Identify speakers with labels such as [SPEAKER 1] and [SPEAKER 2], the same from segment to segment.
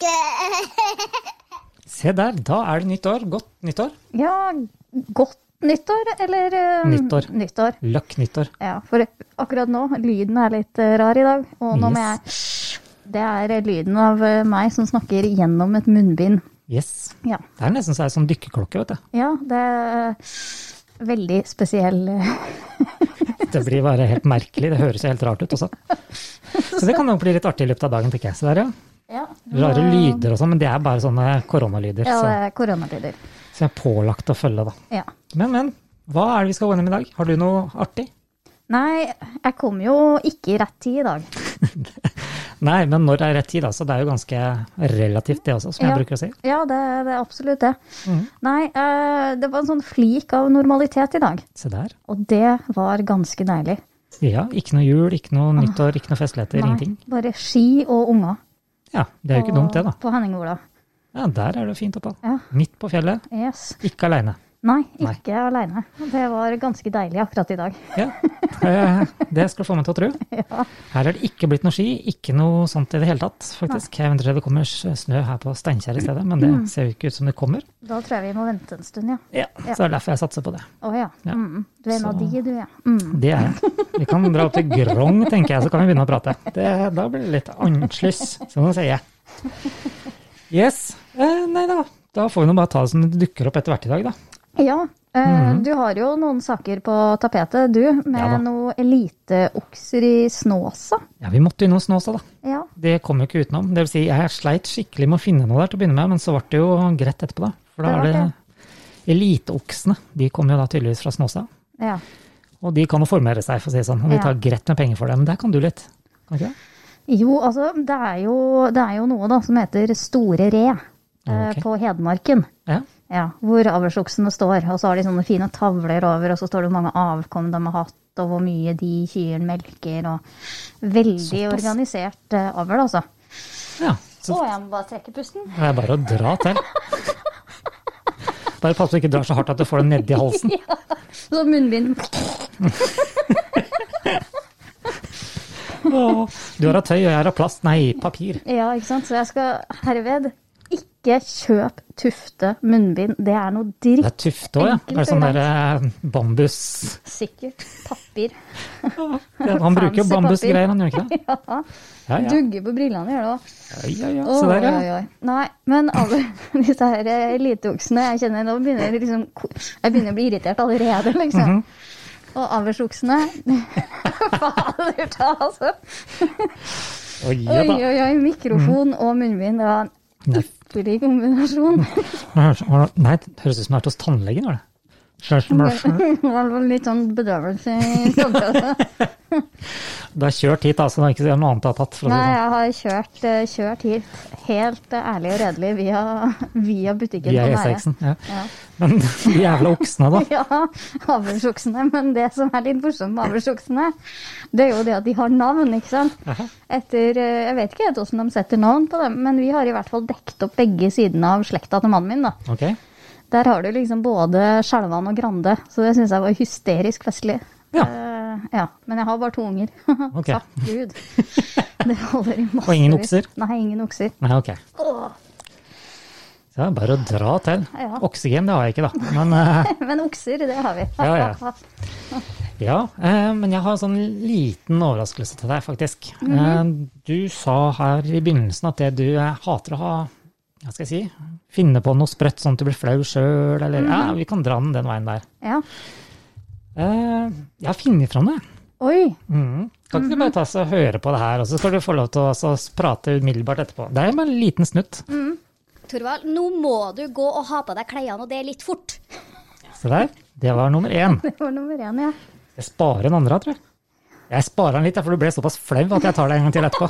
[SPEAKER 1] pepperkake.
[SPEAKER 2] Se der, da er det nytt år. Godt nyttår.
[SPEAKER 3] Ja, godt nyttår, eller eh,
[SPEAKER 2] Nyttår.
[SPEAKER 3] nyttår.
[SPEAKER 2] Løkk nyttår.
[SPEAKER 3] Ja, for akkurat nå, lyden er litt eh, rar i dag. Og nå må
[SPEAKER 2] Yes.
[SPEAKER 3] jeg Det er eh, lyden av eh, meg som snakker gjennom et munnbind.
[SPEAKER 2] Yes.
[SPEAKER 3] Ja,
[SPEAKER 2] Det er nesten så er det sånn dykkerklokke, vet du.
[SPEAKER 3] ja det er veldig spesiell eh,
[SPEAKER 2] Det blir bare helt merkelig. Det høres jo helt rart ut også. Så det kan nok bli litt artig i løpet av dagen, tenker jeg. Så der, ja.
[SPEAKER 3] Ja,
[SPEAKER 2] Rare lyder og sånn, men det er bare sånne koronalyder
[SPEAKER 3] ja det
[SPEAKER 2] som
[SPEAKER 3] er koronalyder.
[SPEAKER 2] som er pålagt å følge, da.
[SPEAKER 3] Ja.
[SPEAKER 2] Men, men. Hva er det vi skal gå gjennom i dag? Har du noe artig?
[SPEAKER 3] Nei, jeg kom jo ikke i rett tid i dag.
[SPEAKER 2] Nei, men når er rett tid, da? Så det er jo ganske relativt, det også, som jeg
[SPEAKER 3] Ja.
[SPEAKER 2] bruker å si. Mhm.
[SPEAKER 3] Ja, det, det er absolutt det. Nei, eh, det var en sånn flik av normalitet i dag.
[SPEAKER 2] Se der.
[SPEAKER 3] Og det var ganske deilig.
[SPEAKER 2] Ja, ikke noe jul, ikke noe nyttår, ikke noe festligheter, ingenting.
[SPEAKER 3] Bare ski og unger.
[SPEAKER 2] Ja, det er jo ikke dumt, det, da.
[SPEAKER 3] På Henningola.
[SPEAKER 2] Ja, der er det fint oppå.
[SPEAKER 3] Ja.
[SPEAKER 2] Midt på fjellet,
[SPEAKER 3] Yes.
[SPEAKER 2] ikke aleine.
[SPEAKER 3] Nei,
[SPEAKER 2] Nei.
[SPEAKER 3] ikke aleine. Det var ganske deilig akkurat i dag.
[SPEAKER 2] Ja, det- det skal du få meg til å tro. Her er det ikke blitt noe ski, ikke noe sånt i det hele tatt, faktisk. Jeg venter til det kommer snø her på Steinkjer i stedet, men det ser jo ikke ut som det kommer.
[SPEAKER 3] Da tror jeg vi må vente en stund, ja.
[SPEAKER 2] Ja, Så det er derfor jeg satser på det.
[SPEAKER 3] Å ja.
[SPEAKER 2] Ja.
[SPEAKER 3] Mm. Du er en av
[SPEAKER 2] Så-
[SPEAKER 3] de, du, ja. Mm.
[SPEAKER 2] Det er jeg. Vi kan dra opp til Grong, tenker jeg, så kan vi begynne å prate. Det, da blir det litt annerledes, som de sier. Yes. Eh, nei da, da får vi nå bare ta det som det dukker opp etter hvert i dag, da.
[SPEAKER 3] Ja. eh, Du har jo noen saker på tapetet, du, med
[SPEAKER 2] Mhm. Ja da.
[SPEAKER 3] noe eliteokser i Snåsa.
[SPEAKER 2] Ja, vi måtte innom Snåsa, da.
[SPEAKER 3] Ja.
[SPEAKER 2] Det kom jo ikke utenom. Det vil si, jeg sleit skikkelig med å finne noe der til å begynne med, men så ble det jo greit etterpå, da. For da
[SPEAKER 3] Det
[SPEAKER 2] var
[SPEAKER 3] ble
[SPEAKER 2] det eliteoksene. De kom jo da tydeligvis fra Snåsa.
[SPEAKER 3] ja.
[SPEAKER 2] Og de kan jo formere seg, for å si det sånn. Og de
[SPEAKER 3] Ja.
[SPEAKER 2] tar greit med penger for det. Men der kan du litt. Kan ikke det?
[SPEAKER 3] Jo, altså, det er jo, det er jo noe da som heter store re eh,
[SPEAKER 2] Ok.
[SPEAKER 3] på Hedmarken.
[SPEAKER 2] Ja.
[SPEAKER 3] Ja, hvor avlsoksene står. Og så har de sånne fine tavler over, og så står det hvor mange avkom de har hatt, og hvor mye de kyrne melker, og veldig
[SPEAKER 2] Såpass.
[SPEAKER 3] organisert eh, avl, altså.
[SPEAKER 2] ja. Så
[SPEAKER 3] Å, jeg må bare trekke pusten.
[SPEAKER 2] Det er bare å dra til. Bare pass på at du ikke drar så hardt at du får det nedi halsen.
[SPEAKER 3] Så munnbind
[SPEAKER 2] Åh, Du har av tøy, og jeg har av plast. Nei, papir.
[SPEAKER 3] Ja, ikke sant. Så jeg skal herved ikke kjøp tufte munnbind. Det er noe
[SPEAKER 2] Det
[SPEAKER 3] dritt.
[SPEAKER 2] er tufte òg, ja. Det er sånn der eh, bambus
[SPEAKER 3] Sikkert papir.
[SPEAKER 2] Ja, Han bruker jo
[SPEAKER 3] Fancy
[SPEAKER 2] bambusgreier, han gjør ikke det?
[SPEAKER 3] Ja.
[SPEAKER 2] Ja, ja.
[SPEAKER 3] Dugger på brillene, gjør det òg.
[SPEAKER 2] ja, ja, ja. Se der, ja.
[SPEAKER 3] Oi, oi, oi. Nei, men alle disse her eh, eliteoksene Jeg kjenner nå begynner jeg liksom Jeg begynner å bli irritert allerede, liksom.
[SPEAKER 2] Mhm.
[SPEAKER 3] Og avlsoksene Fader ta, altså.
[SPEAKER 2] Oi, ja
[SPEAKER 3] Oi,
[SPEAKER 2] da. Mhm.
[SPEAKER 3] oi, oi. Mikrofon og munnbind. Det var en
[SPEAKER 2] Nei,
[SPEAKER 3] ypperlig kombinasjon.
[SPEAKER 2] nei, det høres ut som du har vært hos tannlegen, var det? Du
[SPEAKER 3] Det var vel litt sånn bedøvelse i podkasten.
[SPEAKER 2] har kjørt hit, altså. Det er ikke noe annet jeg har tatt. For å si
[SPEAKER 3] Nei,
[SPEAKER 2] det sånn.
[SPEAKER 3] jeg har kjørt, eh, kjørt hit helt eh, ærlig og redelig via, via butikken
[SPEAKER 2] Via E
[SPEAKER 3] på Nære.
[SPEAKER 2] E6-en. Ja.
[SPEAKER 3] Ja.
[SPEAKER 2] Men de jævla oksene, da.
[SPEAKER 3] Ja, havresoksene. Men det som er litt morsomt med havresoksene, det er jo det at de har navn, ikke sant. Etter, eh, Jeg vet ikke helt hvordan de setter navn på dem, men vi har i hvert fall dekt opp begge sidene av slekta til mannen min. da.
[SPEAKER 2] Ok.
[SPEAKER 3] Der har du liksom både Skjelvan og Grande, så det syns jeg var hysterisk festlig.
[SPEAKER 2] Ja.
[SPEAKER 3] Eh, ja. Men jeg har bare to unger.
[SPEAKER 2] Ok.
[SPEAKER 3] Takk Gud. Det holder i massevis.
[SPEAKER 2] Og ingen okser?
[SPEAKER 3] Nei, ingen okser.
[SPEAKER 2] Nei, ok. Så det er bare å dra til.
[SPEAKER 3] Ja.
[SPEAKER 2] Oksygen, det har jeg ikke, da. Men, eh,
[SPEAKER 3] Men okser, det har vi.
[SPEAKER 2] Ja, ja. ja. eh, men jeg har en sånn liten overraskelse til deg, faktisk.
[SPEAKER 3] Mhm.
[SPEAKER 2] Eh, Du sa her i begynnelsen at det du eh, hater å ha hva skal jeg si, finne på noe sprøtt sånn at du blir flau sjøl, eller
[SPEAKER 3] Mhm.
[SPEAKER 2] Ja, vi kan dra den den veien der.
[SPEAKER 3] ja.
[SPEAKER 2] Eh, Jeg har funnet fram det.
[SPEAKER 3] Oi.
[SPEAKER 2] Mhm. Kan ikke du bare ta oss og høre på det her, og så skal du få lov til å også prate umiddelbart etterpå. Det er bare en liten snutt.
[SPEAKER 3] Mhm.
[SPEAKER 1] Torvald, nå må du gå og ha på deg klærne, og det er litt fort.
[SPEAKER 2] Se der. Det var nummer én.
[SPEAKER 3] Det var nummer én, ja.
[SPEAKER 2] Jeg sparer den andre, tror jeg. Jeg sparer den litt, ja, for du ble såpass flau at jeg tar det en gang til etterpå.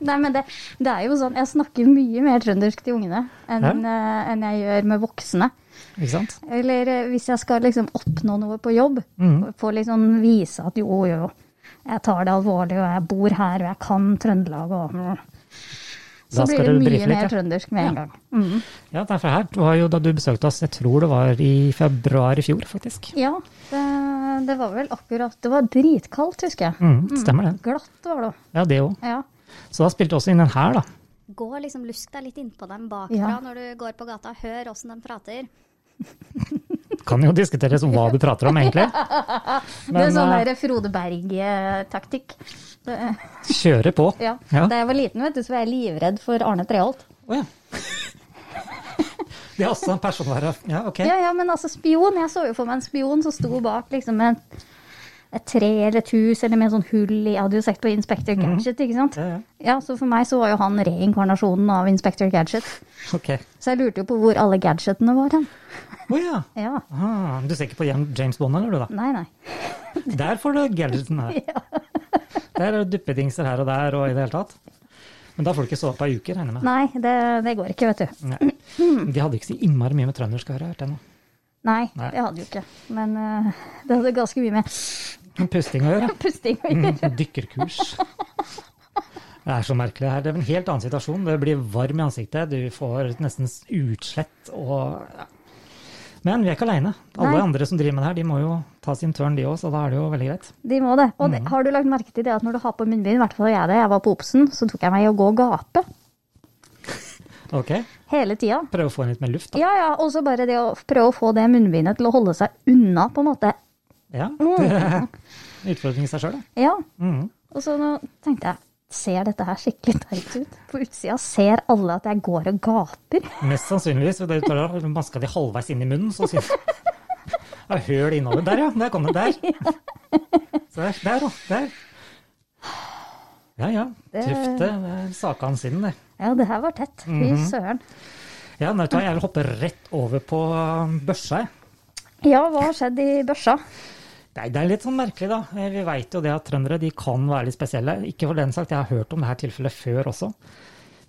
[SPEAKER 3] Nei, men det, det er jo sånn, Jeg snakker mye mer trøndersk til ungene enn,
[SPEAKER 2] Ja.
[SPEAKER 3] eh, enn jeg gjør med voksne.
[SPEAKER 2] Ikke sant?
[SPEAKER 3] Eller eh, hvis jeg skal liksom oppnå noe på jobb,
[SPEAKER 2] Mhm.
[SPEAKER 3] få liksom vise at jo, jo, jo, jeg tar det alvorlig, og jeg bor her, og jeg kan Trøndelag og
[SPEAKER 2] Da
[SPEAKER 3] Så
[SPEAKER 2] skal
[SPEAKER 3] blir det
[SPEAKER 2] du
[SPEAKER 3] mye
[SPEAKER 2] brife litt,
[SPEAKER 3] mer
[SPEAKER 2] ja.
[SPEAKER 3] trøndersk med en gang. Mm.
[SPEAKER 2] Ja, derfor her. Du var jo, da du besøkte oss, jeg tror det var i februar i fjor, faktisk.
[SPEAKER 3] Ja, det, det var vel akkurat Det var dritkaldt, husker jeg.
[SPEAKER 2] Mm, stemmer det.
[SPEAKER 3] Glatt var det òg.
[SPEAKER 2] Ja, det òg.
[SPEAKER 3] Ja.
[SPEAKER 2] Så da spilte vi også inn den her, da.
[SPEAKER 1] gå liksom, lusk deg litt innpå dem bakfra
[SPEAKER 3] Ja.
[SPEAKER 1] når du går på gata. Hør åssen de prater.
[SPEAKER 2] Kan jo diskuteres hva du prater om, egentlig.
[SPEAKER 3] det
[SPEAKER 2] Men
[SPEAKER 3] er sånn
[SPEAKER 2] eh,
[SPEAKER 3] der Frode Berg-taktikk. Det-
[SPEAKER 2] kjøre på.
[SPEAKER 3] Ja.
[SPEAKER 2] Ja.
[SPEAKER 3] Da jeg var liten, vet du, så var jeg livredd for Arne Treholt.
[SPEAKER 2] Å ja. Det er også en personvare. Ja, ok.
[SPEAKER 3] Ja, ja, men altså spion. Jeg så jo for meg en spion som sto bak liksom en, et tre eller et hus eller med en sånn hull i Jeg hadde jo sett på Inspector Gadget, ikke sant?
[SPEAKER 2] Ja, ja.
[SPEAKER 3] Ja, så for meg så var jo han reinkarnasjonen av Inspector Gadget.
[SPEAKER 2] Ok.
[SPEAKER 3] Så jeg lurte jo på hvor alle gadgetene var hen.
[SPEAKER 2] Å ja.
[SPEAKER 3] Ja.
[SPEAKER 2] Ah, du ser ikke på Jan- James Bond, eller du, da?
[SPEAKER 3] Nei, nei.
[SPEAKER 2] Der får du gadgeten her. Der er det duppedingser her og der og i det hele tatt. Men da får du ikke sove på ei uke, regner jeg med.
[SPEAKER 3] Nei, det, det går ikke, vet du.
[SPEAKER 2] Nei. De hadde ikke så innmari mye med trøndersk å gjøre, hørte jeg nå.
[SPEAKER 3] Nei,
[SPEAKER 2] Nei.
[SPEAKER 3] det hadde jo ikke. Men eh, det hadde ganske mye med
[SPEAKER 2] Men pusting å gjøre.
[SPEAKER 3] pusting å gjøre.
[SPEAKER 2] Mm, Dykkerkurs. Det er så merkelig. det her. Det er en helt annen situasjon. Det blir varm i ansiktet. Du får nesten s- utslett og ja. Men vi er ikke aleine. Alle
[SPEAKER 3] Nei.
[SPEAKER 2] andre som driver med det her, de må jo ta sin tørn, de òg, så da er det jo veldig greit.
[SPEAKER 3] De må det. Og det, har du lagt merke til det at når du har på munnbind, i hvert fall jeg det, jeg var på Obsen, så tok jeg meg i å gå og gape
[SPEAKER 2] Ok,
[SPEAKER 3] hele tida.
[SPEAKER 2] Prøve å få inn litt mer luft, da.
[SPEAKER 3] Ja, ja, og så bare det å prøve å få det munnbindet til å holde seg unna, på en måte.
[SPEAKER 2] Ja, det er en utfordring i seg sjøl, det.
[SPEAKER 3] Ja,
[SPEAKER 2] Mm.
[SPEAKER 3] og så nå tenkte jeg, ser dette her skikkelig teit ut? På utsida ser alle at jeg går og gaper.
[SPEAKER 2] Mest sannsynligvis. Det tar av maska di halvveis inn i munnen, så sier du Ja, høl innover. Der, ja. Der kom det. Der. Se der. Der, da. Der. Ja, ja.
[SPEAKER 3] Det-
[SPEAKER 2] Tøft, det. Det er Sakan siden, det.
[SPEAKER 3] Ja, det her var tett. Fy søren.
[SPEAKER 2] Ja, nå vet du hva, jeg vil hoppe rett over på um, børsa, jeg.
[SPEAKER 3] Ja, hva har skjedd i børsa?
[SPEAKER 2] Nei, det er litt sånn merkelig, da. Eh, Vi veit jo det at trøndere de kan være litt spesielle. Ikke for den sagt, jeg har hørt om dette tilfellet før også.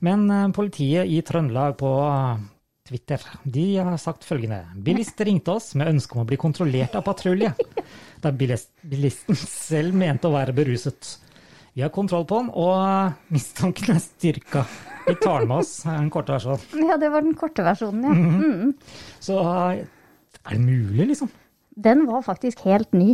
[SPEAKER 2] Men eh, politiet i Trøndelag på eh, Twitter de har sagt følgende. Bilist ringte oss med ønske om å bli kontrollert av patrulje. Da bilis- bilisten selv mente å være beruset. Vi har kontroll på han, og mistanken er styrka. Vi tar den med oss, er den korte versjonen.
[SPEAKER 3] Ja, det var den korte versjonen, ja.
[SPEAKER 2] Så eh, er det mulig, liksom?
[SPEAKER 3] Den var faktisk helt ny.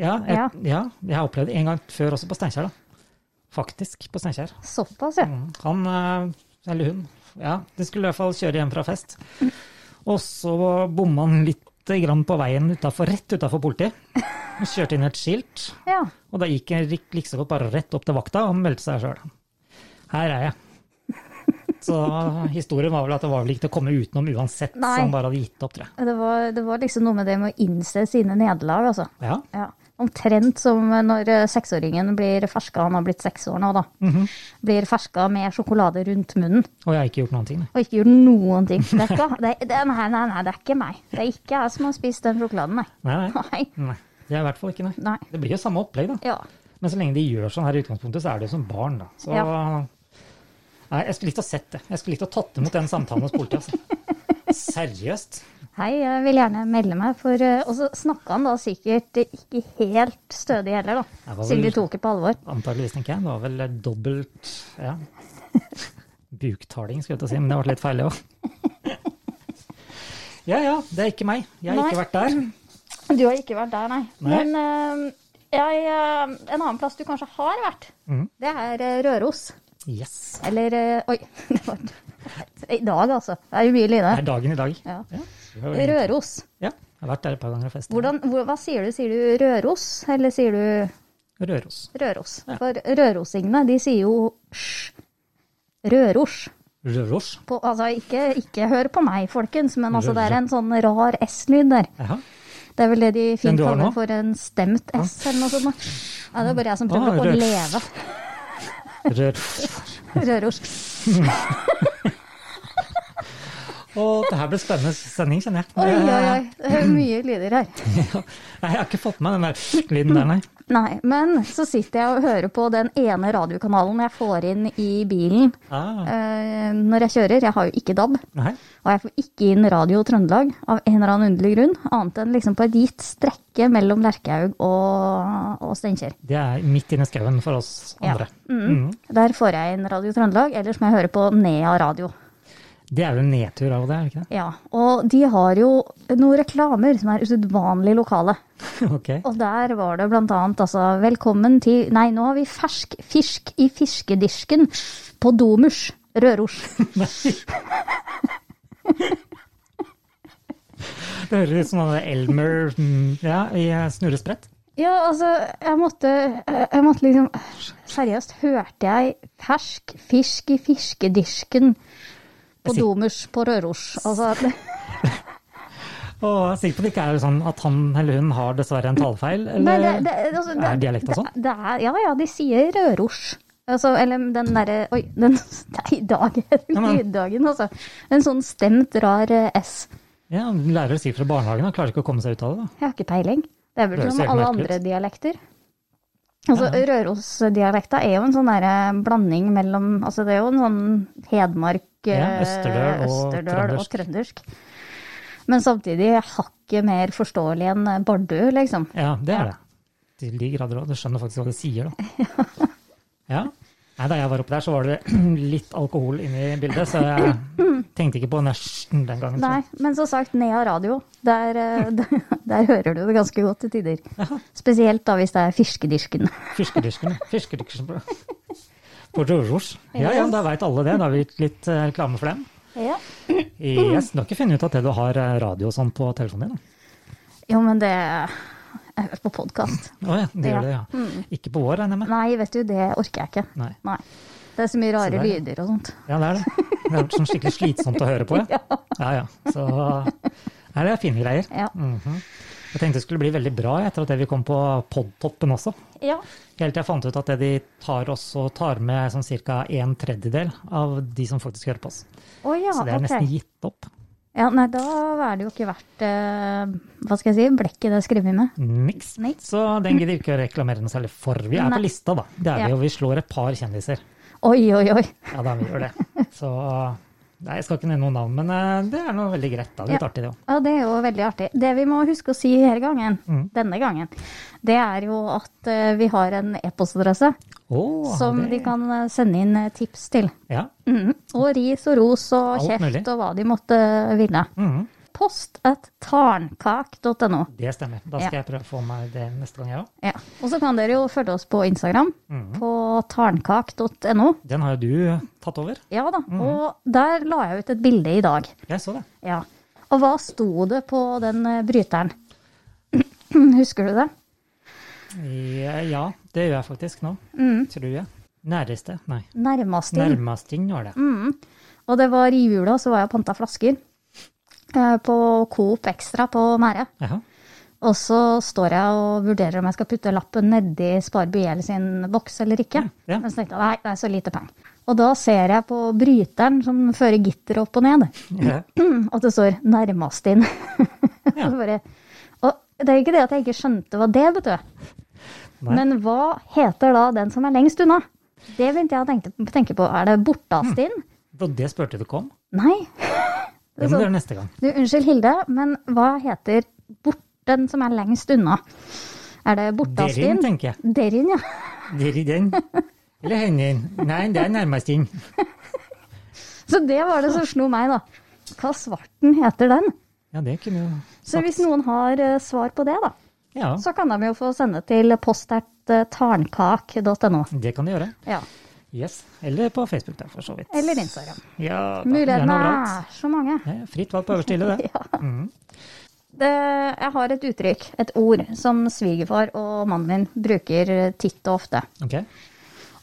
[SPEAKER 2] Ja, jeg,
[SPEAKER 3] Ja.
[SPEAKER 2] ja. jeg har opplevd det en gang før også på Steinkjer. da. Faktisk på Steinkjer.
[SPEAKER 3] Såpass, ja.
[SPEAKER 2] Mm, Han, eh, eller hun, ja, de skulle i hvert fall kjøre hjem fra fest. Og så bomma han lite grann på veien utenfor, rett utafor politiet. Han Kjørte inn et skilt,
[SPEAKER 3] Ja,
[SPEAKER 2] og da gikk han lik- like så godt bare rett opp til vakta og meldte seg sjøl. Her er jeg. Så historien var vel at det var vel ikke til å komme utenom uansett,
[SPEAKER 3] Nei.
[SPEAKER 2] så han bare hadde gitt opp, tror jeg.
[SPEAKER 3] det var, det var liksom noe med det med å innse sine nederlag, altså.
[SPEAKER 2] Ja.
[SPEAKER 3] Ja. Omtrent som når eh, seksåringen blir ferska, han har blitt seks år nå, da.
[SPEAKER 2] Mhm.
[SPEAKER 3] Blir ferska med sjokolade rundt munnen
[SPEAKER 2] Og jeg har ikke gjort noen ting, nei.
[SPEAKER 3] og ikke gjør noen ting. Det er ikke, det, er- det, er- nei, nei, nei, det er ikke meg. Det er ikke jeg som har spist den sjokoladen, nei.
[SPEAKER 2] Nei, nei.
[SPEAKER 3] Nei.
[SPEAKER 2] nei. Det er i hvert fall ikke, nei.
[SPEAKER 3] nei.
[SPEAKER 2] Det blir jo samme opplegg, da.
[SPEAKER 3] Ja.
[SPEAKER 2] Men så lenge de gjør sånn her i utgangspunktet, så er det jo som barn, da. Så Nei, jeg skulle likt å sett det. Jeg skulle likt å tatt imot den samtalen hos politiet. Altså. Seriøst.
[SPEAKER 3] Hei, jeg vil gjerne melde meg, for eh, Og så snakka han da sikkert eh, ikke helt stødig heller,
[SPEAKER 2] Det
[SPEAKER 3] da.
[SPEAKER 2] var vel-
[SPEAKER 3] Siden de tok det på alvor.
[SPEAKER 2] Antakeligvis, tenker jeg. Det var vel dobbelt ja. Buktaling, skulle jeg til å si, men det ble litt feil, det òg. Ja ja, det er ikke meg. Jeg har ikke
[SPEAKER 3] Nei.
[SPEAKER 2] vært der.
[SPEAKER 3] Du har ikke vært der, nei.
[SPEAKER 2] Nei.
[SPEAKER 3] Men eh, jeg, eh, en annen plass du kanskje har vært,
[SPEAKER 2] Mhm.
[SPEAKER 3] det er eh, Røros.
[SPEAKER 2] Yes.
[SPEAKER 3] Eller eh, Oi, det var I dag, altså. Det er jo mye lyne.
[SPEAKER 2] Det er dagen i dag.
[SPEAKER 3] Ja.
[SPEAKER 2] Ja, det var vel-
[SPEAKER 3] Røros.
[SPEAKER 2] ja jeg har vært der et par ganger og festet.
[SPEAKER 3] Hvordan, hvor, hva sier du? Sier du Røros, eller sier du
[SPEAKER 2] Røros.
[SPEAKER 3] Røros?
[SPEAKER 2] Ja.
[SPEAKER 3] For rørosingene, de sier jo sj. Røros.
[SPEAKER 2] Røros.
[SPEAKER 3] På, altså, ikke, ikke hør på meg, folkens, men altså, det er en sånn rar S-lyd der.
[SPEAKER 2] Jaha.
[SPEAKER 3] Det er vel det de
[SPEAKER 2] Den
[SPEAKER 3] fint
[SPEAKER 2] du har nå?
[SPEAKER 3] kaller for en stemt S, eller noe sånt. Ja, det er bare jeg som prøver
[SPEAKER 2] Ah,
[SPEAKER 3] å
[SPEAKER 2] Røros.
[SPEAKER 3] leve.
[SPEAKER 2] Røros.
[SPEAKER 3] Røros.
[SPEAKER 2] Og det her ble spennende sending, kjenner jeg.
[SPEAKER 3] Oi, oi, oi. Det er mye lyder her.
[SPEAKER 2] Ja. Nei, jeg har ikke fått med den der lyden der, nei.
[SPEAKER 3] Nei, men så sitter jeg og hører på den ene radiokanalen jeg får inn i bilen
[SPEAKER 2] Ah,
[SPEAKER 3] eh, når jeg kjører. Jeg har jo ikke DAB,
[SPEAKER 2] nei.
[SPEAKER 3] og jeg får ikke inn Radio Trøndelag av en eller annen underlig grunn, annet enn liksom på et gitt strekke mellom Lerkehaug og, og Steinkjer.
[SPEAKER 2] Det er midt inne i skauen for oss andre.
[SPEAKER 3] Mm. Der får jeg inn Radio Trøndelag, ellers må jeg høre på Nea radio.
[SPEAKER 2] Det er jo en nedtur av det, er det ikke det?
[SPEAKER 3] Ja, og de har jo noen reklamer som er usedvanlig lokale.
[SPEAKER 2] Ok.
[SPEAKER 3] Og der var det blant annet altså Velkommen til Nei, nå har vi fersk fisk i fiskedisken på Domus. Røros.
[SPEAKER 2] Det høres ut som han der Elmer mm, ja, i eh, Snurresprett.
[SPEAKER 3] Ja, altså, jeg måtte, jeg måtte liksom Seriøst, hørte jeg fersk fisk i fiskedisken på
[SPEAKER 2] Jeg sier-
[SPEAKER 3] Domus på Røros? Altså, det-
[SPEAKER 2] Og jeg er sikker på at det ikke er sånn at han eller hun har dessverre en talefeil,
[SPEAKER 3] nei,
[SPEAKER 2] eller
[SPEAKER 3] det, det, altså, det,
[SPEAKER 2] er dialekta sånn?
[SPEAKER 3] Det, det er, ja, ja, de sier Røros. Altså, eller den derre Oi, den, nei, i dag er det
[SPEAKER 2] Ja, men-
[SPEAKER 3] lyddagen, altså. En sånn stemt, rar eh, S.
[SPEAKER 2] Ja, Lærere sier fra barnehagen og klarer ikke å komme seg ut av det. da.
[SPEAKER 3] Jeg har ikke peiling. Det er vel
[SPEAKER 2] Det høres
[SPEAKER 3] som
[SPEAKER 2] helt
[SPEAKER 3] alle
[SPEAKER 2] merkelig ut.
[SPEAKER 3] andre dialekter. Altså, Rørosdialekta er jo en sånn der eh, blanding mellom altså Det er jo en sånn Hedmark,
[SPEAKER 2] Ja,
[SPEAKER 3] eh,
[SPEAKER 2] Østerdøl og
[SPEAKER 3] Østerdøl og trøndersk. Men samtidig hakket mer forståelig enn eh, Bardu, liksom.
[SPEAKER 2] Ja, det er det. Til de grader òg. Du skjønner faktisk hva de sier, da. Ja. Nei, da jeg var oppe der, så var det litt alkohol inne i bildet, så jeg tenkte ikke på nersen den gangen.
[SPEAKER 3] Nei, men som sagt, Nea radio. Der, eh, der, der hører du det ganske godt til tider. Spesielt da hvis det er fiskedisken.
[SPEAKER 2] Fiskedisken. Fiskedisken på- på Røros. Ja, ja, da veit alle det. Da har vi gitt litt eh, reklame for dem.
[SPEAKER 3] Ja.
[SPEAKER 2] Yes, du har ikke funnet ut at det du har eh, radio og sånn på telefonen din? da?
[SPEAKER 3] Jo, men det Jeg hører på podkast.
[SPEAKER 2] Å ja, Mm. det gjør det, ja. Ikke på vår, regner jeg med?
[SPEAKER 3] Nei, vet du, det orker jeg ikke.
[SPEAKER 2] Nei.
[SPEAKER 3] Nei. Det er så mye rare
[SPEAKER 2] der, ja.
[SPEAKER 3] lyder og sånt.
[SPEAKER 2] Ja, det er det. Det har vært sånn skikkelig slitsomt å høre på. Ja, ja. ja. Så Nei, det er fine greier.
[SPEAKER 3] Ja.
[SPEAKER 2] Mhm. Jeg tenkte det skulle bli veldig bra etter at vi kom på podtoppen også.
[SPEAKER 3] Ja.
[SPEAKER 2] Helt til jeg fant ut at det de tar oss og tar med sånn ca. en tredjedel av de som faktisk hører på oss.
[SPEAKER 3] Å ja,
[SPEAKER 2] Så det er
[SPEAKER 3] ok.
[SPEAKER 2] nesten gitt opp.
[SPEAKER 3] Ja, nei, da er det jo ikke verdt eh, Hva skal jeg si? Blekket det er skrevet med.
[SPEAKER 2] Niks.
[SPEAKER 3] Nei.
[SPEAKER 2] Så den gidder vi ikke å reklamere noe særlig for. Vi er
[SPEAKER 3] Nei.
[SPEAKER 2] på lista, da. Det er
[SPEAKER 3] Ja.
[SPEAKER 2] vi, og vi slår et par kjendiser.
[SPEAKER 3] Oi, oi, oi.
[SPEAKER 2] Ja, da vi gjør det. Så Nei, jeg skal ikke nevne noen navn, men eh, det er noe veldig greit. da. Litt
[SPEAKER 3] Ja.
[SPEAKER 2] artig, det òg.
[SPEAKER 3] Ja, det er jo veldig artig. Det vi må huske å si her gangen,
[SPEAKER 2] Mm.
[SPEAKER 3] denne gangen, det er jo at eh, vi har en e-postadresse
[SPEAKER 2] Å,
[SPEAKER 3] som
[SPEAKER 2] det-
[SPEAKER 3] de kan eh, sende inn eh, tips til.
[SPEAKER 2] Ja.
[SPEAKER 3] Mm. Og ris og ros og
[SPEAKER 2] Alt
[SPEAKER 3] kjeft
[SPEAKER 2] mulig.
[SPEAKER 3] og hva de måtte eh, ville.
[SPEAKER 2] Mhm.
[SPEAKER 3] Post at tarnkak.no.
[SPEAKER 2] Det stemmer. Da skal jeg prøve å få meg det neste gang, jeg òg.
[SPEAKER 3] Ja. Og så kan dere jo følge oss på Instagram,
[SPEAKER 2] Mhm.
[SPEAKER 3] på tarnkak.no.
[SPEAKER 2] Den har jo du tatt over.
[SPEAKER 3] Ja da, og der la jeg ut et bilde i dag.
[SPEAKER 2] Jeg så det.
[SPEAKER 3] Ja. Og hva sto det på den eh, bryteren? Husker du det?
[SPEAKER 2] Ja, ja, det gjør jeg faktisk nå.
[SPEAKER 3] Mm.
[SPEAKER 2] Tror jeg. Næreste? Nei.
[SPEAKER 3] Nærmest inn.
[SPEAKER 2] Nærmesting var
[SPEAKER 3] Mm.
[SPEAKER 2] det.
[SPEAKER 3] Og det var i jula, så var jeg og panta flasker eh, på Coop Extra på Mære.
[SPEAKER 2] Jaha.
[SPEAKER 3] Og så står jeg og vurderer om jeg skal putte lappen nedi Spar BL sin boks eller ikke.
[SPEAKER 2] Mm, Ja, ja.
[SPEAKER 3] Men så tenkte jeg nei, det er så lite penger. Og da ser jeg på bryteren som fører gitteret opp og ned.
[SPEAKER 2] Ja.
[SPEAKER 3] at det står 'nærmest inn'.
[SPEAKER 2] Ja.
[SPEAKER 3] Og bare, og det er ikke det at jeg ikke skjønte hva det betød,
[SPEAKER 2] Nei.
[SPEAKER 3] men hva heter da den som er lengst unna? Det begynte jeg å tenke, tenke på. Er det bortast
[SPEAKER 2] Mm.
[SPEAKER 3] inn?
[SPEAKER 2] Og det spurte du ikke om?
[SPEAKER 3] Nei.
[SPEAKER 2] Det
[SPEAKER 3] sånn-
[SPEAKER 2] må du gjøre neste gang.
[SPEAKER 3] Du, unnskyld, Hilde, men hva heter bort, den som er lengst unna? Er det bortast
[SPEAKER 2] Derin,
[SPEAKER 3] inn?
[SPEAKER 2] tenker jeg.
[SPEAKER 3] Derin, ja.
[SPEAKER 2] Deri den. Eller henin. Nei, det er nærmesting.
[SPEAKER 3] Så det var det som slo meg, da. Hva svarten heter den?
[SPEAKER 2] Ja, det kunne jo
[SPEAKER 3] Så hvis noen har eh, svar på det, da,
[SPEAKER 2] Ja,
[SPEAKER 3] så kan de jo få sende til eh, postert.tarnkak.no.
[SPEAKER 2] det kan du gjøre.
[SPEAKER 3] Ja.
[SPEAKER 2] Yes. Eller på Facebook, der, for så vidt.
[SPEAKER 3] Eller Instagram.
[SPEAKER 2] Ja, da, gjerne
[SPEAKER 3] Mulighetene
[SPEAKER 2] overalt.
[SPEAKER 3] er så mange.
[SPEAKER 2] Ja, Fritt valg på øverste hylle, det. Mm.
[SPEAKER 3] Det, jeg har et uttrykk, et ord, som svigerfar og mannen min bruker eh, titt og ofte.
[SPEAKER 2] Ok.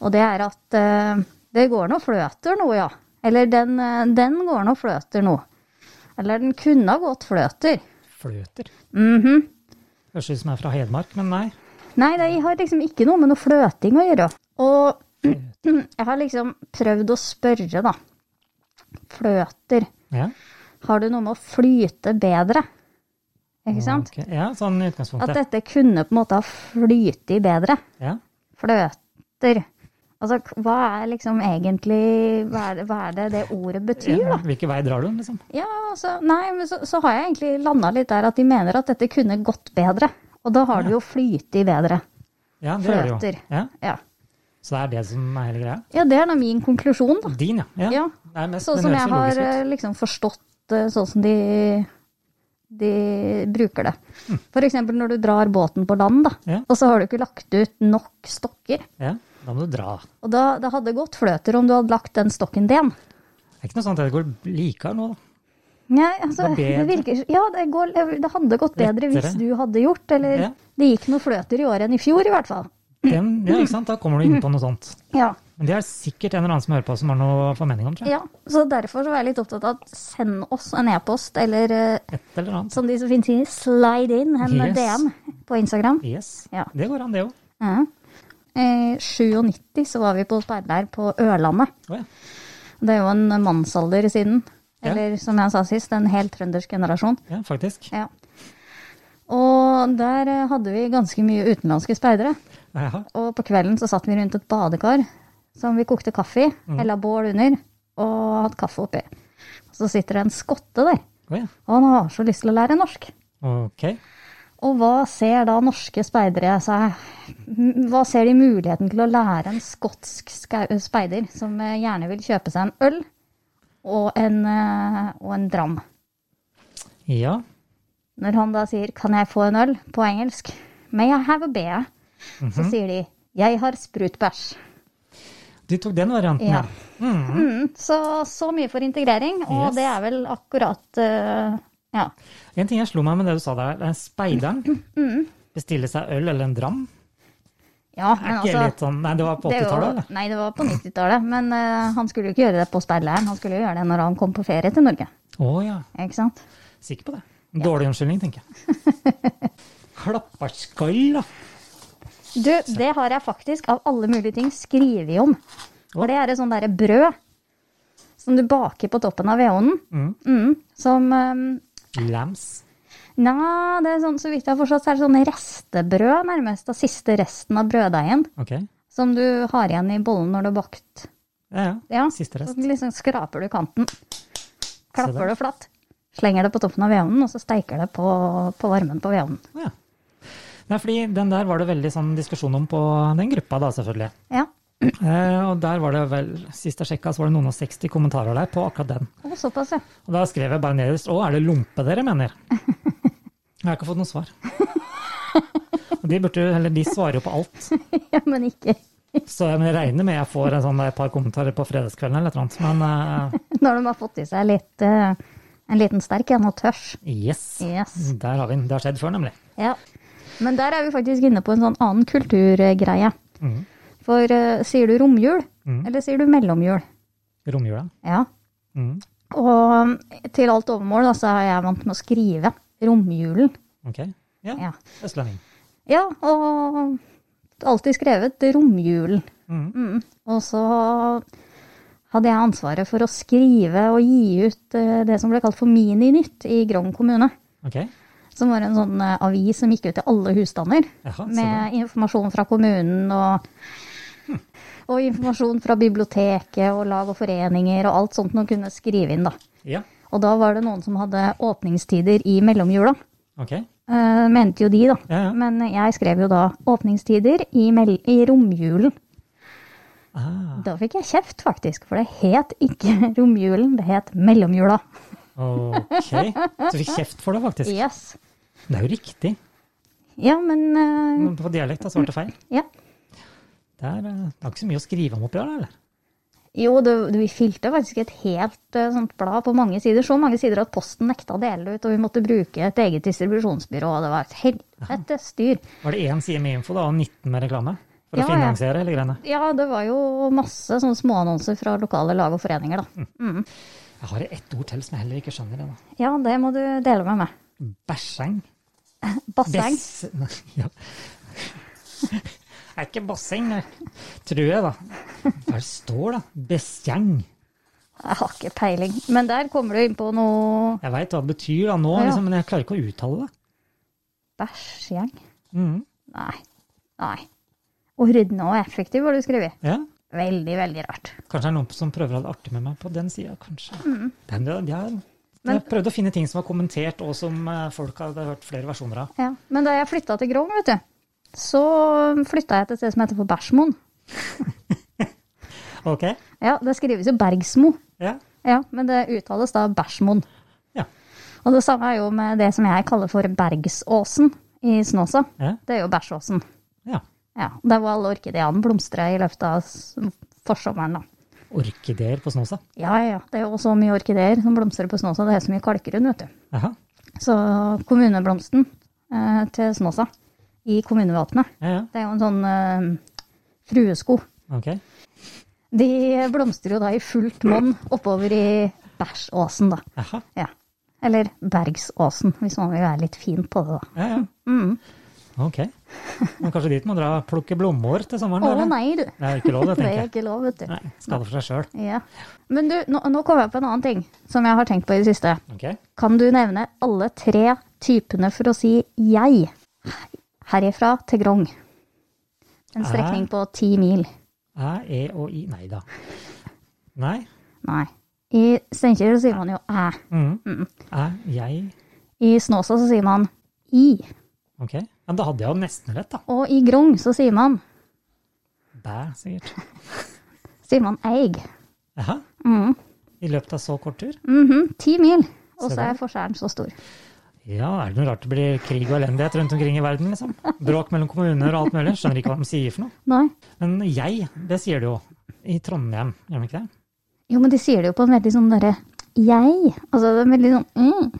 [SPEAKER 3] Og det er at eh, det går nå fløter nå, ja. Eller den, eh, den går nå fløter nå. Eller den kunne ha gått fløter.
[SPEAKER 2] Fløter.
[SPEAKER 3] Mhm.
[SPEAKER 2] Høres ut som jeg er fra Hedmark, men nei.
[SPEAKER 3] Nei, det har liksom ikke noe med noe fløting å gjøre. Og jeg har liksom prøvd å spørre, da. Fløter.
[SPEAKER 2] Ja,
[SPEAKER 3] Har du noe med å flyte bedre? Ikke sant?
[SPEAKER 2] ok. ja sånn i utgangspunktet.
[SPEAKER 3] At dette kunne på en måte ha flytet bedre.
[SPEAKER 2] Ja.
[SPEAKER 3] Fløter. Altså, k- hva er liksom egentlig Hva er det hva er det, det ordet betyr, da?
[SPEAKER 2] Ja, Hvilken vei drar du, liksom?
[SPEAKER 3] Ja, altså, nei, men så, så har jeg egentlig landa litt der at de mener at dette kunne gått bedre. Og da har det jo flytet bedre.
[SPEAKER 2] Ja, det gjør du jo.
[SPEAKER 3] Fløter.
[SPEAKER 2] Ja,
[SPEAKER 3] Ja.
[SPEAKER 2] så det er det som er hele greia?
[SPEAKER 3] ja, det er da min konklusjon, da.
[SPEAKER 2] Din, ja. ja.
[SPEAKER 3] Ja.
[SPEAKER 2] Det er mest,
[SPEAKER 3] Sånn
[SPEAKER 2] den
[SPEAKER 3] som
[SPEAKER 2] høres
[SPEAKER 3] jeg
[SPEAKER 2] jo
[SPEAKER 3] har
[SPEAKER 2] logisk
[SPEAKER 3] eh, liksom forstått eh, sånn som de, de bruker det. For eksempel når du drar båten på land, da.
[SPEAKER 2] Hm. Ja.
[SPEAKER 3] Og så har du ikke lagt ut nok stokker.
[SPEAKER 2] ut. Ja. Da må du dra.
[SPEAKER 3] Og da, det hadde gått fløter om du hadde lagt den stokken din.
[SPEAKER 2] Det er ikke noe sånt at det går likere nå, da.
[SPEAKER 3] Nei, altså,
[SPEAKER 2] Det går
[SPEAKER 3] det,
[SPEAKER 2] bedre.
[SPEAKER 3] virker, ja, det, går, det hadde gått bedre hvis
[SPEAKER 2] Lettere.
[SPEAKER 3] du hadde gjort, eller
[SPEAKER 2] Ja.
[SPEAKER 3] det gikk noe fløter i år enn i fjor i hvert fall.
[SPEAKER 2] Den, ja, ikke sant? Da kommer du inn på noe sånt.
[SPEAKER 3] Ja,
[SPEAKER 2] Men det er sikkert en eller annen som hører på som har noe formening om, tror jeg.
[SPEAKER 3] ja. Så derfor så var jeg litt opptatt av at send oss en e-post, eller eh,
[SPEAKER 2] Et eller annet.
[SPEAKER 3] som de som finnes sier, slide in en
[SPEAKER 2] Yes.
[SPEAKER 3] DM på Instagram.
[SPEAKER 2] Yes.
[SPEAKER 3] Ja.
[SPEAKER 2] Det går an, det òg.
[SPEAKER 3] Ja. Mm. I 97 så var vi på Speidleir på Ørlandet.
[SPEAKER 2] Å ja.
[SPEAKER 3] Det er jo en mannsalder siden.
[SPEAKER 2] Ja.
[SPEAKER 3] Eller som jeg sa sist, en helt trøndersk generasjon.
[SPEAKER 2] ja, faktisk.
[SPEAKER 3] Ja. Og der eh, hadde vi ganske mye utenlandske speidere.
[SPEAKER 2] Jaha.
[SPEAKER 3] Og på kvelden så satt vi rundt et badekar som vi kokte kaffe i, eller bål under, og hadde kaffe oppi. Og så sitter det en skotte der,
[SPEAKER 2] Å ja.
[SPEAKER 3] og han har så lyst til å lære norsk.
[SPEAKER 2] Ok.
[SPEAKER 3] Og hva ser da norske speidere seg m- Hva ser de muligheten til å lære en skotsk skau- speider som eh, gjerne vil kjøpe seg en øl og en, eh, og en dram?
[SPEAKER 2] Ja.
[SPEAKER 3] Når han da sier 'Kan jeg få en øl?' på engelsk, 'May I have a beer?'
[SPEAKER 2] Mhm.
[SPEAKER 3] så sier de 'Jeg har sprutbæsj'.
[SPEAKER 2] Du tok den varianten, ja.
[SPEAKER 3] Ja. Mm, så så mye for integrering, og
[SPEAKER 2] Mhm. Yes.
[SPEAKER 3] det er vel akkurat eh, Ja.
[SPEAKER 2] En ting jeg slo meg med det du sa der, er speideren.
[SPEAKER 3] Mm.
[SPEAKER 2] Bestille seg øl eller en dram.
[SPEAKER 3] ja
[SPEAKER 2] Er
[SPEAKER 3] men
[SPEAKER 2] ikke
[SPEAKER 3] altså
[SPEAKER 2] litt sånn Nei, det var på
[SPEAKER 3] det var-
[SPEAKER 2] 80-tallet, eller?
[SPEAKER 3] Nei, det var på 90-tallet. Men eh, han skulle jo ikke gjøre det på speiderleiren, han skulle jo gjøre det når han kom på ferie til Norge.
[SPEAKER 2] Å ja.
[SPEAKER 3] Ikke sant?
[SPEAKER 2] Sikker på det. Dårlig unnskyldning, tenker jeg. Klapperskall, da.
[SPEAKER 3] Du, det har jeg faktisk av alle mulige ting skrevet om. For det er et sånt derre brød som du baker på toppen av vedovnen.
[SPEAKER 2] Mm.
[SPEAKER 3] Mm, som eh,
[SPEAKER 2] Lams.
[SPEAKER 3] Nja, det er sånn, så vidt jeg har forstått, så er det sånn restebrød, nærmest. Den siste resten av brøddeigen
[SPEAKER 2] Ok.
[SPEAKER 3] som du har igjen i bollen når du har bakt.
[SPEAKER 2] Ja, ja.
[SPEAKER 3] Ja,
[SPEAKER 2] Siste rest.
[SPEAKER 3] Så liksom skraper du kanten,
[SPEAKER 2] der.
[SPEAKER 3] klapper det flatt, slenger det på toppen av vedovnen, og så steiker det på, på varmen på vedovnen.
[SPEAKER 2] Ja. Nei, fordi den der var det veldig sånn diskusjon om på den gruppa, da, selvfølgelig.
[SPEAKER 3] Ja,
[SPEAKER 2] Eh, og der var det vel, sist jeg sjekka, så var det noen og 60 kommentarer der på akkurat den.
[SPEAKER 3] og såpass, ja.
[SPEAKER 2] Og da skrev jeg bare nederst Å, er det lompe dere mener? Jeg har ikke fått noe svar. Og de, burde, jo- eller de svarer jo på alt,
[SPEAKER 3] ja men ikke
[SPEAKER 2] så jeg men jeg regner med jeg får en sånn der par kommentarer på fredagskvelden eller et eller annet. Men eh,
[SPEAKER 3] når de har fått i seg litt, eh, en liten sterk en og tørs.
[SPEAKER 2] eh, yes.
[SPEAKER 3] Yes.
[SPEAKER 2] Der har vi den. Det har skjedd før, nemlig.
[SPEAKER 3] Ja. Men der er vi faktisk inne på en sånn annen kulturgreie.
[SPEAKER 2] Mhm.
[SPEAKER 3] For eh, sier du romjul, eller sier du mellomjul?
[SPEAKER 2] Romjula.
[SPEAKER 3] Ja.
[SPEAKER 2] Mm.
[SPEAKER 3] Og um, til alt overmål da, så er jeg vant med å skrive romjulen.
[SPEAKER 2] Ok. Ja.
[SPEAKER 3] Ja.
[SPEAKER 2] Østlending.
[SPEAKER 3] ja, og alltid skrevet romjulen.
[SPEAKER 2] Mhm.
[SPEAKER 3] Mm. Og så hadde jeg ansvaret for å skrive og gi ut eh, det som ble kalt for Mininytt i Grong kommune.
[SPEAKER 2] Ok.
[SPEAKER 3] Som var en sånn eh, avis som gikk ut til alle husstander.
[SPEAKER 2] Jaha, så bra. Hm.
[SPEAKER 3] Med informasjon fra kommunen og, og informasjon fra biblioteket og lag og foreninger og alt sånt noen kunne skrive inn, da.
[SPEAKER 2] Ja.
[SPEAKER 3] Og da var det noen som hadde åpningstider i mellomjula.
[SPEAKER 2] Ok.
[SPEAKER 3] Eh, mente jo de, da.
[SPEAKER 2] Ja, ja.
[SPEAKER 3] Men jeg skrev jo da 'åpningstider i, mel i romjulen'.
[SPEAKER 2] Ah,
[SPEAKER 3] Da fikk jeg kjeft, faktisk, for det het ikke romjulen, det het mellomjula.
[SPEAKER 2] ok. Så du fikk kjeft for det, faktisk.
[SPEAKER 3] Yes.
[SPEAKER 2] Det er jo riktig.
[SPEAKER 3] Ja, men eh,
[SPEAKER 2] Men På dialekt da, så var det feil.
[SPEAKER 3] Ja.
[SPEAKER 2] Det er, eh, det er ikke så mye å skrive om oppi her, eller?
[SPEAKER 3] Jo, du, du, vi fylte faktisk et helt eh, sånt blad på mange sider. Så mange sider at Posten nekta å dele ut, og vi måtte bruke et eget distribusjonsbyrå. og Det var et helvete styr.
[SPEAKER 2] Var det én side med info da, og 19 med reklame? For
[SPEAKER 3] Ja,
[SPEAKER 2] å
[SPEAKER 3] ja.
[SPEAKER 2] finansiere hele greiene.
[SPEAKER 3] Ja, det var jo masse sånne småannonser fra lokale lag og foreninger,
[SPEAKER 2] Mm.
[SPEAKER 3] da.
[SPEAKER 2] Jeg har ett ord til som jeg heller ikke skjønner. ennå.
[SPEAKER 3] Ja, det må du dele med meg.
[SPEAKER 2] Bæsjeng.
[SPEAKER 3] Basseng.
[SPEAKER 2] Bess... Nei, ja. Det er ikke basseng, det. tror jeg, da. Hva er det står, da? Besseng.
[SPEAKER 3] Jeg har ikke peiling. Men der kommer du inn på noe
[SPEAKER 2] Jeg veit hva det betyr da nå,
[SPEAKER 3] Ja.
[SPEAKER 2] liksom, men jeg klarer ikke å uttale det.
[SPEAKER 3] bæsjgjeng. Mm.
[SPEAKER 2] Mhm.
[SPEAKER 3] Nei. Nei. Ordne og effektiv, har du skrevet.
[SPEAKER 2] Ja.
[SPEAKER 3] Veldig, veldig rart.
[SPEAKER 2] Kanskje det er noen som prøver å ha det artig med meg på den sida, kanskje. Den, ja, jeg,
[SPEAKER 3] Mm. Men-
[SPEAKER 2] jeg prøvde å finne ting som var kommentert, og som eh, folk hadde hørt flere versjoner av.
[SPEAKER 3] Ja. Men da jeg flytta til Grong, vet du, så flytta jeg til et sted som heter for Bæsjmoen.
[SPEAKER 2] Ok?
[SPEAKER 3] Ja, det skrives jo Bergsmo,
[SPEAKER 2] Ja.
[SPEAKER 3] ja, men det uttales da Bæsjmoen.
[SPEAKER 2] Ja.
[SPEAKER 3] Og det samme er jo med det som jeg kaller for Bergsåsen i Snåsa.
[SPEAKER 2] Ja.
[SPEAKER 3] Det er jo Bæsjåsen.
[SPEAKER 2] ja.
[SPEAKER 3] Ja, Det var alle orkideene blomstra i løpet av s- forsommeren, da.
[SPEAKER 2] Orkideer på Snåsa.
[SPEAKER 3] Ja, ja. Det er jo så mye orkideer som blomstrer på Snåsa. Det er så mye kalkgrunn, vet du.
[SPEAKER 2] Aha.
[SPEAKER 3] Så kommuneblomsten eh, til Snåsa i kommunevåpenet,
[SPEAKER 2] Ja, ja.
[SPEAKER 3] det er jo en sånn eh, fruesko.
[SPEAKER 2] Ok.
[SPEAKER 3] De blomstrer jo da i fullt monn oppover i Bæsjåsen, da.
[SPEAKER 2] Aha.
[SPEAKER 3] Ja. Eller Bergsåsen, hvis man vil være litt fin på det, da.
[SPEAKER 2] Ja, ja.
[SPEAKER 3] Mm.
[SPEAKER 2] Ok. Men kanskje dit må dra og plukke blomster til sommeren?
[SPEAKER 3] Å
[SPEAKER 2] eller?
[SPEAKER 3] nei, du.
[SPEAKER 2] Det Sånn er jo ikke lov, det,
[SPEAKER 3] Det
[SPEAKER 2] tenker
[SPEAKER 3] er
[SPEAKER 2] jeg.
[SPEAKER 3] ikke lov, vet du.
[SPEAKER 2] Nei, Skade for seg sjøl.
[SPEAKER 3] Ja. Men du, nå, nå kom jeg på en annen ting som jeg har tenkt på i det siste.
[SPEAKER 2] Ok.
[SPEAKER 3] Kan du nevne alle tre typene for å si jeg? Herifra til Grong. En strekning på ti mil.
[SPEAKER 2] Æ, e og i. Nei da. Nei.
[SPEAKER 3] Nei. I Steinkjer så sier man jo æ.
[SPEAKER 2] Mm.
[SPEAKER 3] Mm.
[SPEAKER 2] Æ, jeg
[SPEAKER 3] I Snåsa så sier man i.
[SPEAKER 2] Ok. Men da hadde jeg jo nesten rett, da.
[SPEAKER 3] Og i Grong så sier man
[SPEAKER 2] Bæ, sikkert.
[SPEAKER 3] sier man eig.
[SPEAKER 2] Jaha.
[SPEAKER 3] Mm.
[SPEAKER 2] I løpet av så kort tur?
[SPEAKER 3] Mhm, Ti mil. Og
[SPEAKER 2] Se
[SPEAKER 3] så
[SPEAKER 2] der.
[SPEAKER 3] er forskjellen så stor.
[SPEAKER 2] Ja, er det noe rart det blir krig og elendighet rundt omkring i verden, liksom? Bråk mellom kommuner og alt mulig. Skjønner ikke hva de sier for noe.
[SPEAKER 3] Nei.
[SPEAKER 2] Men jeg, det sier du jo. I Trondheim, gjør de ikke det?
[SPEAKER 3] Jo, men de sier det jo på en veldig sånn derre jeg. Altså det er veldig sånn mm.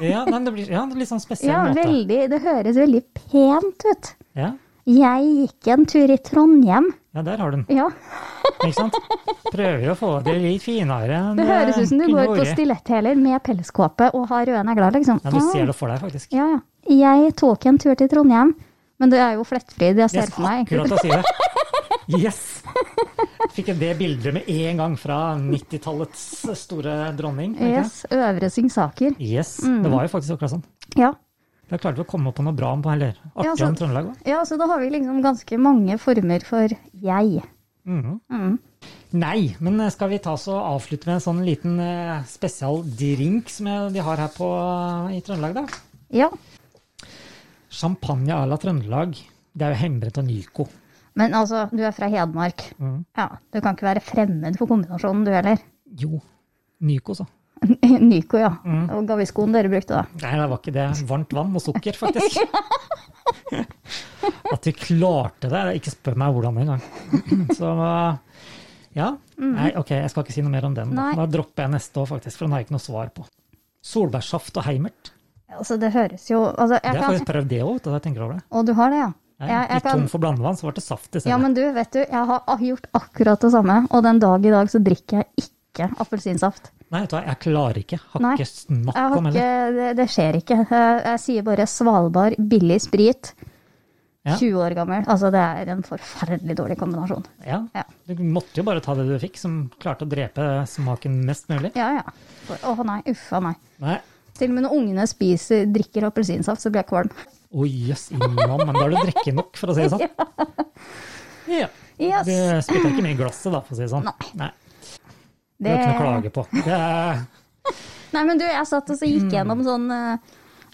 [SPEAKER 2] Ja, nei, det blir, ja, det blir sånn spesiell
[SPEAKER 3] Ja,
[SPEAKER 2] måte.
[SPEAKER 3] veldig. Det høres veldig pent ut.
[SPEAKER 2] Ja,
[SPEAKER 3] Jeg gikk en tur i Trondheim.
[SPEAKER 2] ja, der har du den.
[SPEAKER 3] Ja,
[SPEAKER 2] Ikke sant? Prøver å få det litt finere enn
[SPEAKER 3] Det høres ut som du
[SPEAKER 2] eh,
[SPEAKER 3] går på
[SPEAKER 2] innore.
[SPEAKER 3] stiletthæler med pelskåpe og har røde negler, liksom.
[SPEAKER 2] Ja, du
[SPEAKER 3] Ah,
[SPEAKER 2] ser det for deg, faktisk.
[SPEAKER 3] Ja, ja. Jeg tok en tur til Trondheim, men det er jo flettfri, det jeg ser
[SPEAKER 2] Yes,
[SPEAKER 3] for meg.
[SPEAKER 2] akkurat å si det. Yes! Fikk jeg det bildet med en gang fra 90-tallets store dronning. ikke det?
[SPEAKER 3] Yes, Mm. Øvre Singsaker.
[SPEAKER 2] yes. Det var jo faktisk akkurat sånn.
[SPEAKER 3] Ja.
[SPEAKER 2] Da klarte vi å komme på noe bra om på heller. Artig
[SPEAKER 3] Ja, sånn. så-
[SPEAKER 2] om Trøndelag òg.
[SPEAKER 3] ja, så da har vi liksom ganske mange former for jeg. Mm.
[SPEAKER 2] Mhm. Nei, men eh, skal vi ta oss og avslutte med en sånn liten eh, spesial drink som jeg- de har her på, eh, i Trøndelag, da?
[SPEAKER 3] Ja,
[SPEAKER 2] Champagne à la Trøndelag. Det er jo hjemmebrent og Nyco.
[SPEAKER 3] men altså, du er fra Hedmark.
[SPEAKER 2] Mm.
[SPEAKER 3] Ja, du kan ikke være fremmed for kombinasjonen, du heller.
[SPEAKER 2] Jo, Nyco, så.
[SPEAKER 3] Nyco, ja.
[SPEAKER 2] Mm.
[SPEAKER 3] Og gaviskoen dere brukte da.
[SPEAKER 2] Nei, det var ikke det. Varmt vann og sukker, faktisk. At vi klarte det. Ikke spør meg hvordan engang. Så eh, ja. Nei, ok, jeg skal ikke si noe mer om den. Da,
[SPEAKER 3] Mhm. Nei.
[SPEAKER 2] da dropper jeg neste år, faktisk, for den har jeg ikke noe svar på. Solbærsaft og heimert.
[SPEAKER 3] Altså, det høres jo altså, jeg
[SPEAKER 2] Jeg har
[SPEAKER 3] kan-
[SPEAKER 2] faktisk prøvd det òg, da jeg tenker over det.
[SPEAKER 3] Og du har det, ja?
[SPEAKER 2] Jeg
[SPEAKER 3] Jeg- jeg
[SPEAKER 2] gikk
[SPEAKER 3] kan-
[SPEAKER 2] tom for blandevann, så ble det saft i stedet.
[SPEAKER 3] Ja, men du, vet du, jeg har a- gjort akkurat det samme, og den dag i dag så drikker jeg ikke appelsinsaft.
[SPEAKER 2] Nei, vet du hva, jeg klarer ikke. Har
[SPEAKER 3] Nei,
[SPEAKER 2] ikke snakk
[SPEAKER 3] Jeg har
[SPEAKER 2] om heller.
[SPEAKER 3] ikke, det, det skjer ikke. Jeg, jeg sier bare Svalbard, billig sprit,
[SPEAKER 2] Ja.
[SPEAKER 3] 20 år gammel. Altså, det er en forferdelig dårlig kombinasjon.
[SPEAKER 2] Ja.
[SPEAKER 3] Ja.
[SPEAKER 2] Du måtte jo bare ta det du fikk, som klarte å drepe smaken mest mulig.
[SPEAKER 3] Ja, ja. Å nei, uffa meg.
[SPEAKER 2] Nei.
[SPEAKER 3] Til og med når ungene spiser, drikker appelsinsaft, så blir jeg kvalm.
[SPEAKER 2] Å jøss, innam. Men da har du drukket nok, for å si det sånn. Ja.
[SPEAKER 3] Yes.
[SPEAKER 2] Du spytter ikke mye i glasset, da, for å si det sånn. Nei. Det
[SPEAKER 3] Det-
[SPEAKER 2] er ikke noe å klage på. Det er,
[SPEAKER 3] Nei, men du, jeg satt og så
[SPEAKER 2] Mm.
[SPEAKER 3] gikk gjennom sånn eh,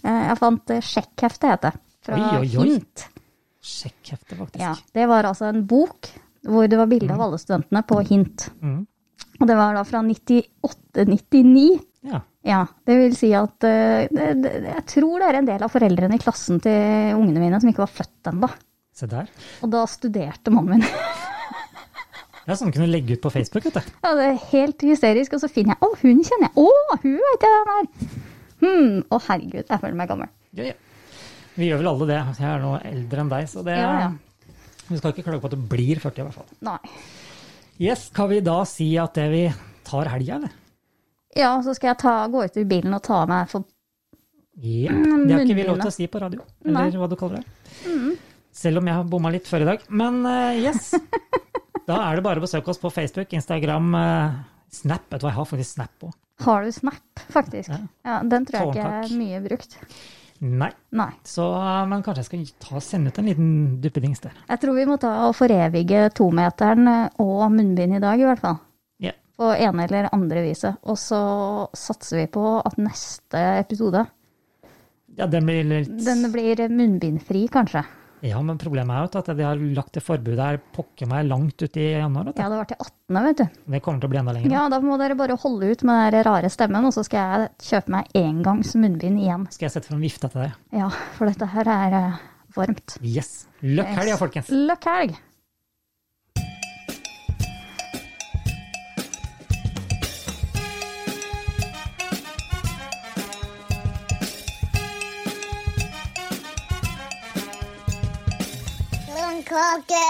[SPEAKER 3] eh, Jeg fant eh, sjekkhefte, heter det. Fra
[SPEAKER 2] Oi, oi, oi.
[SPEAKER 3] Hint.
[SPEAKER 2] sjekk heftet, faktisk.
[SPEAKER 3] Ja, det var altså en bok hvor det var bilde av alle studentene på hint.
[SPEAKER 2] Mm.
[SPEAKER 3] Og det var da fra 98-99.
[SPEAKER 2] Ja.
[SPEAKER 3] Ja, det vil si at eh, det, det, jeg tror det er en del av foreldrene i klassen til ungene mine som ikke var født ennå.
[SPEAKER 2] Se der.
[SPEAKER 3] Og da studerte mannen min.
[SPEAKER 2] Det er sånn du kunne legge ut på Facebook, vet du.
[SPEAKER 3] ja, det er helt hysterisk. Og så finner jeg Å, hun kjenner jeg! Å, hun vet jeg hvem er! Hmm, å herregud, jeg føler meg gammel.
[SPEAKER 2] Ja, ja. Vi gjør vel alle det. Jeg er nå eldre enn deg, så det
[SPEAKER 3] Ja, ja.
[SPEAKER 2] Vi skal ikke klage på at du blir 40, i hvert fall.
[SPEAKER 3] Nei.
[SPEAKER 2] Yes, Kan vi da si at det vi tar helga, eller?
[SPEAKER 3] Ja, så skal jeg ta, gå ut i bilen og ta av meg for
[SPEAKER 2] Ja, det har ikke vi lov
[SPEAKER 3] munnbindet.
[SPEAKER 2] til å si på radio, eller
[SPEAKER 3] Mm, Nei. Mm.
[SPEAKER 2] hva du kaller det. Selv om jeg har bomma litt før i dag. Men eh, yes, da er det bare å besøke oss på Facebook, Instagram, eh, Snap. Vet du hva, jeg har faktisk Snap òg.
[SPEAKER 3] Har du snap, faktisk?
[SPEAKER 2] Ja.
[SPEAKER 3] Ja, Den tror jeg ikke
[SPEAKER 2] Tårntakk.
[SPEAKER 3] er mye brukt.
[SPEAKER 2] Nei,
[SPEAKER 3] Nei.
[SPEAKER 2] så eh, men kanskje jeg skal ta, sende ut en liten duppedings der.
[SPEAKER 3] Jeg tror vi må ta og forevige tometeren eh, og munnbind i dag, i hvert fall.
[SPEAKER 2] Ja.
[SPEAKER 3] På ene eller andre viset. Og så satser vi på at neste episode,
[SPEAKER 2] ja, den blir litt
[SPEAKER 3] den blir munnbindfri, kanskje.
[SPEAKER 2] Ja, men problemet er jo at de har lagt det forbudet her pokker meg langt ut i januar. Vet du.
[SPEAKER 3] Ja, det var til 18., vet du.
[SPEAKER 2] Det kommer til å bli enda lenger.
[SPEAKER 3] Ja, da må dere bare holde ut med den rare stemmen, og så skal jeg kjøpe meg engangs munnbind igjen.
[SPEAKER 2] Skal jeg sette fram vifta til deg?
[SPEAKER 3] Ja, for dette her er eh, varmt.
[SPEAKER 2] Yes. Løkk helg, ja, folkens.
[SPEAKER 3] Løkkhelg!
[SPEAKER 4] Blomkåke.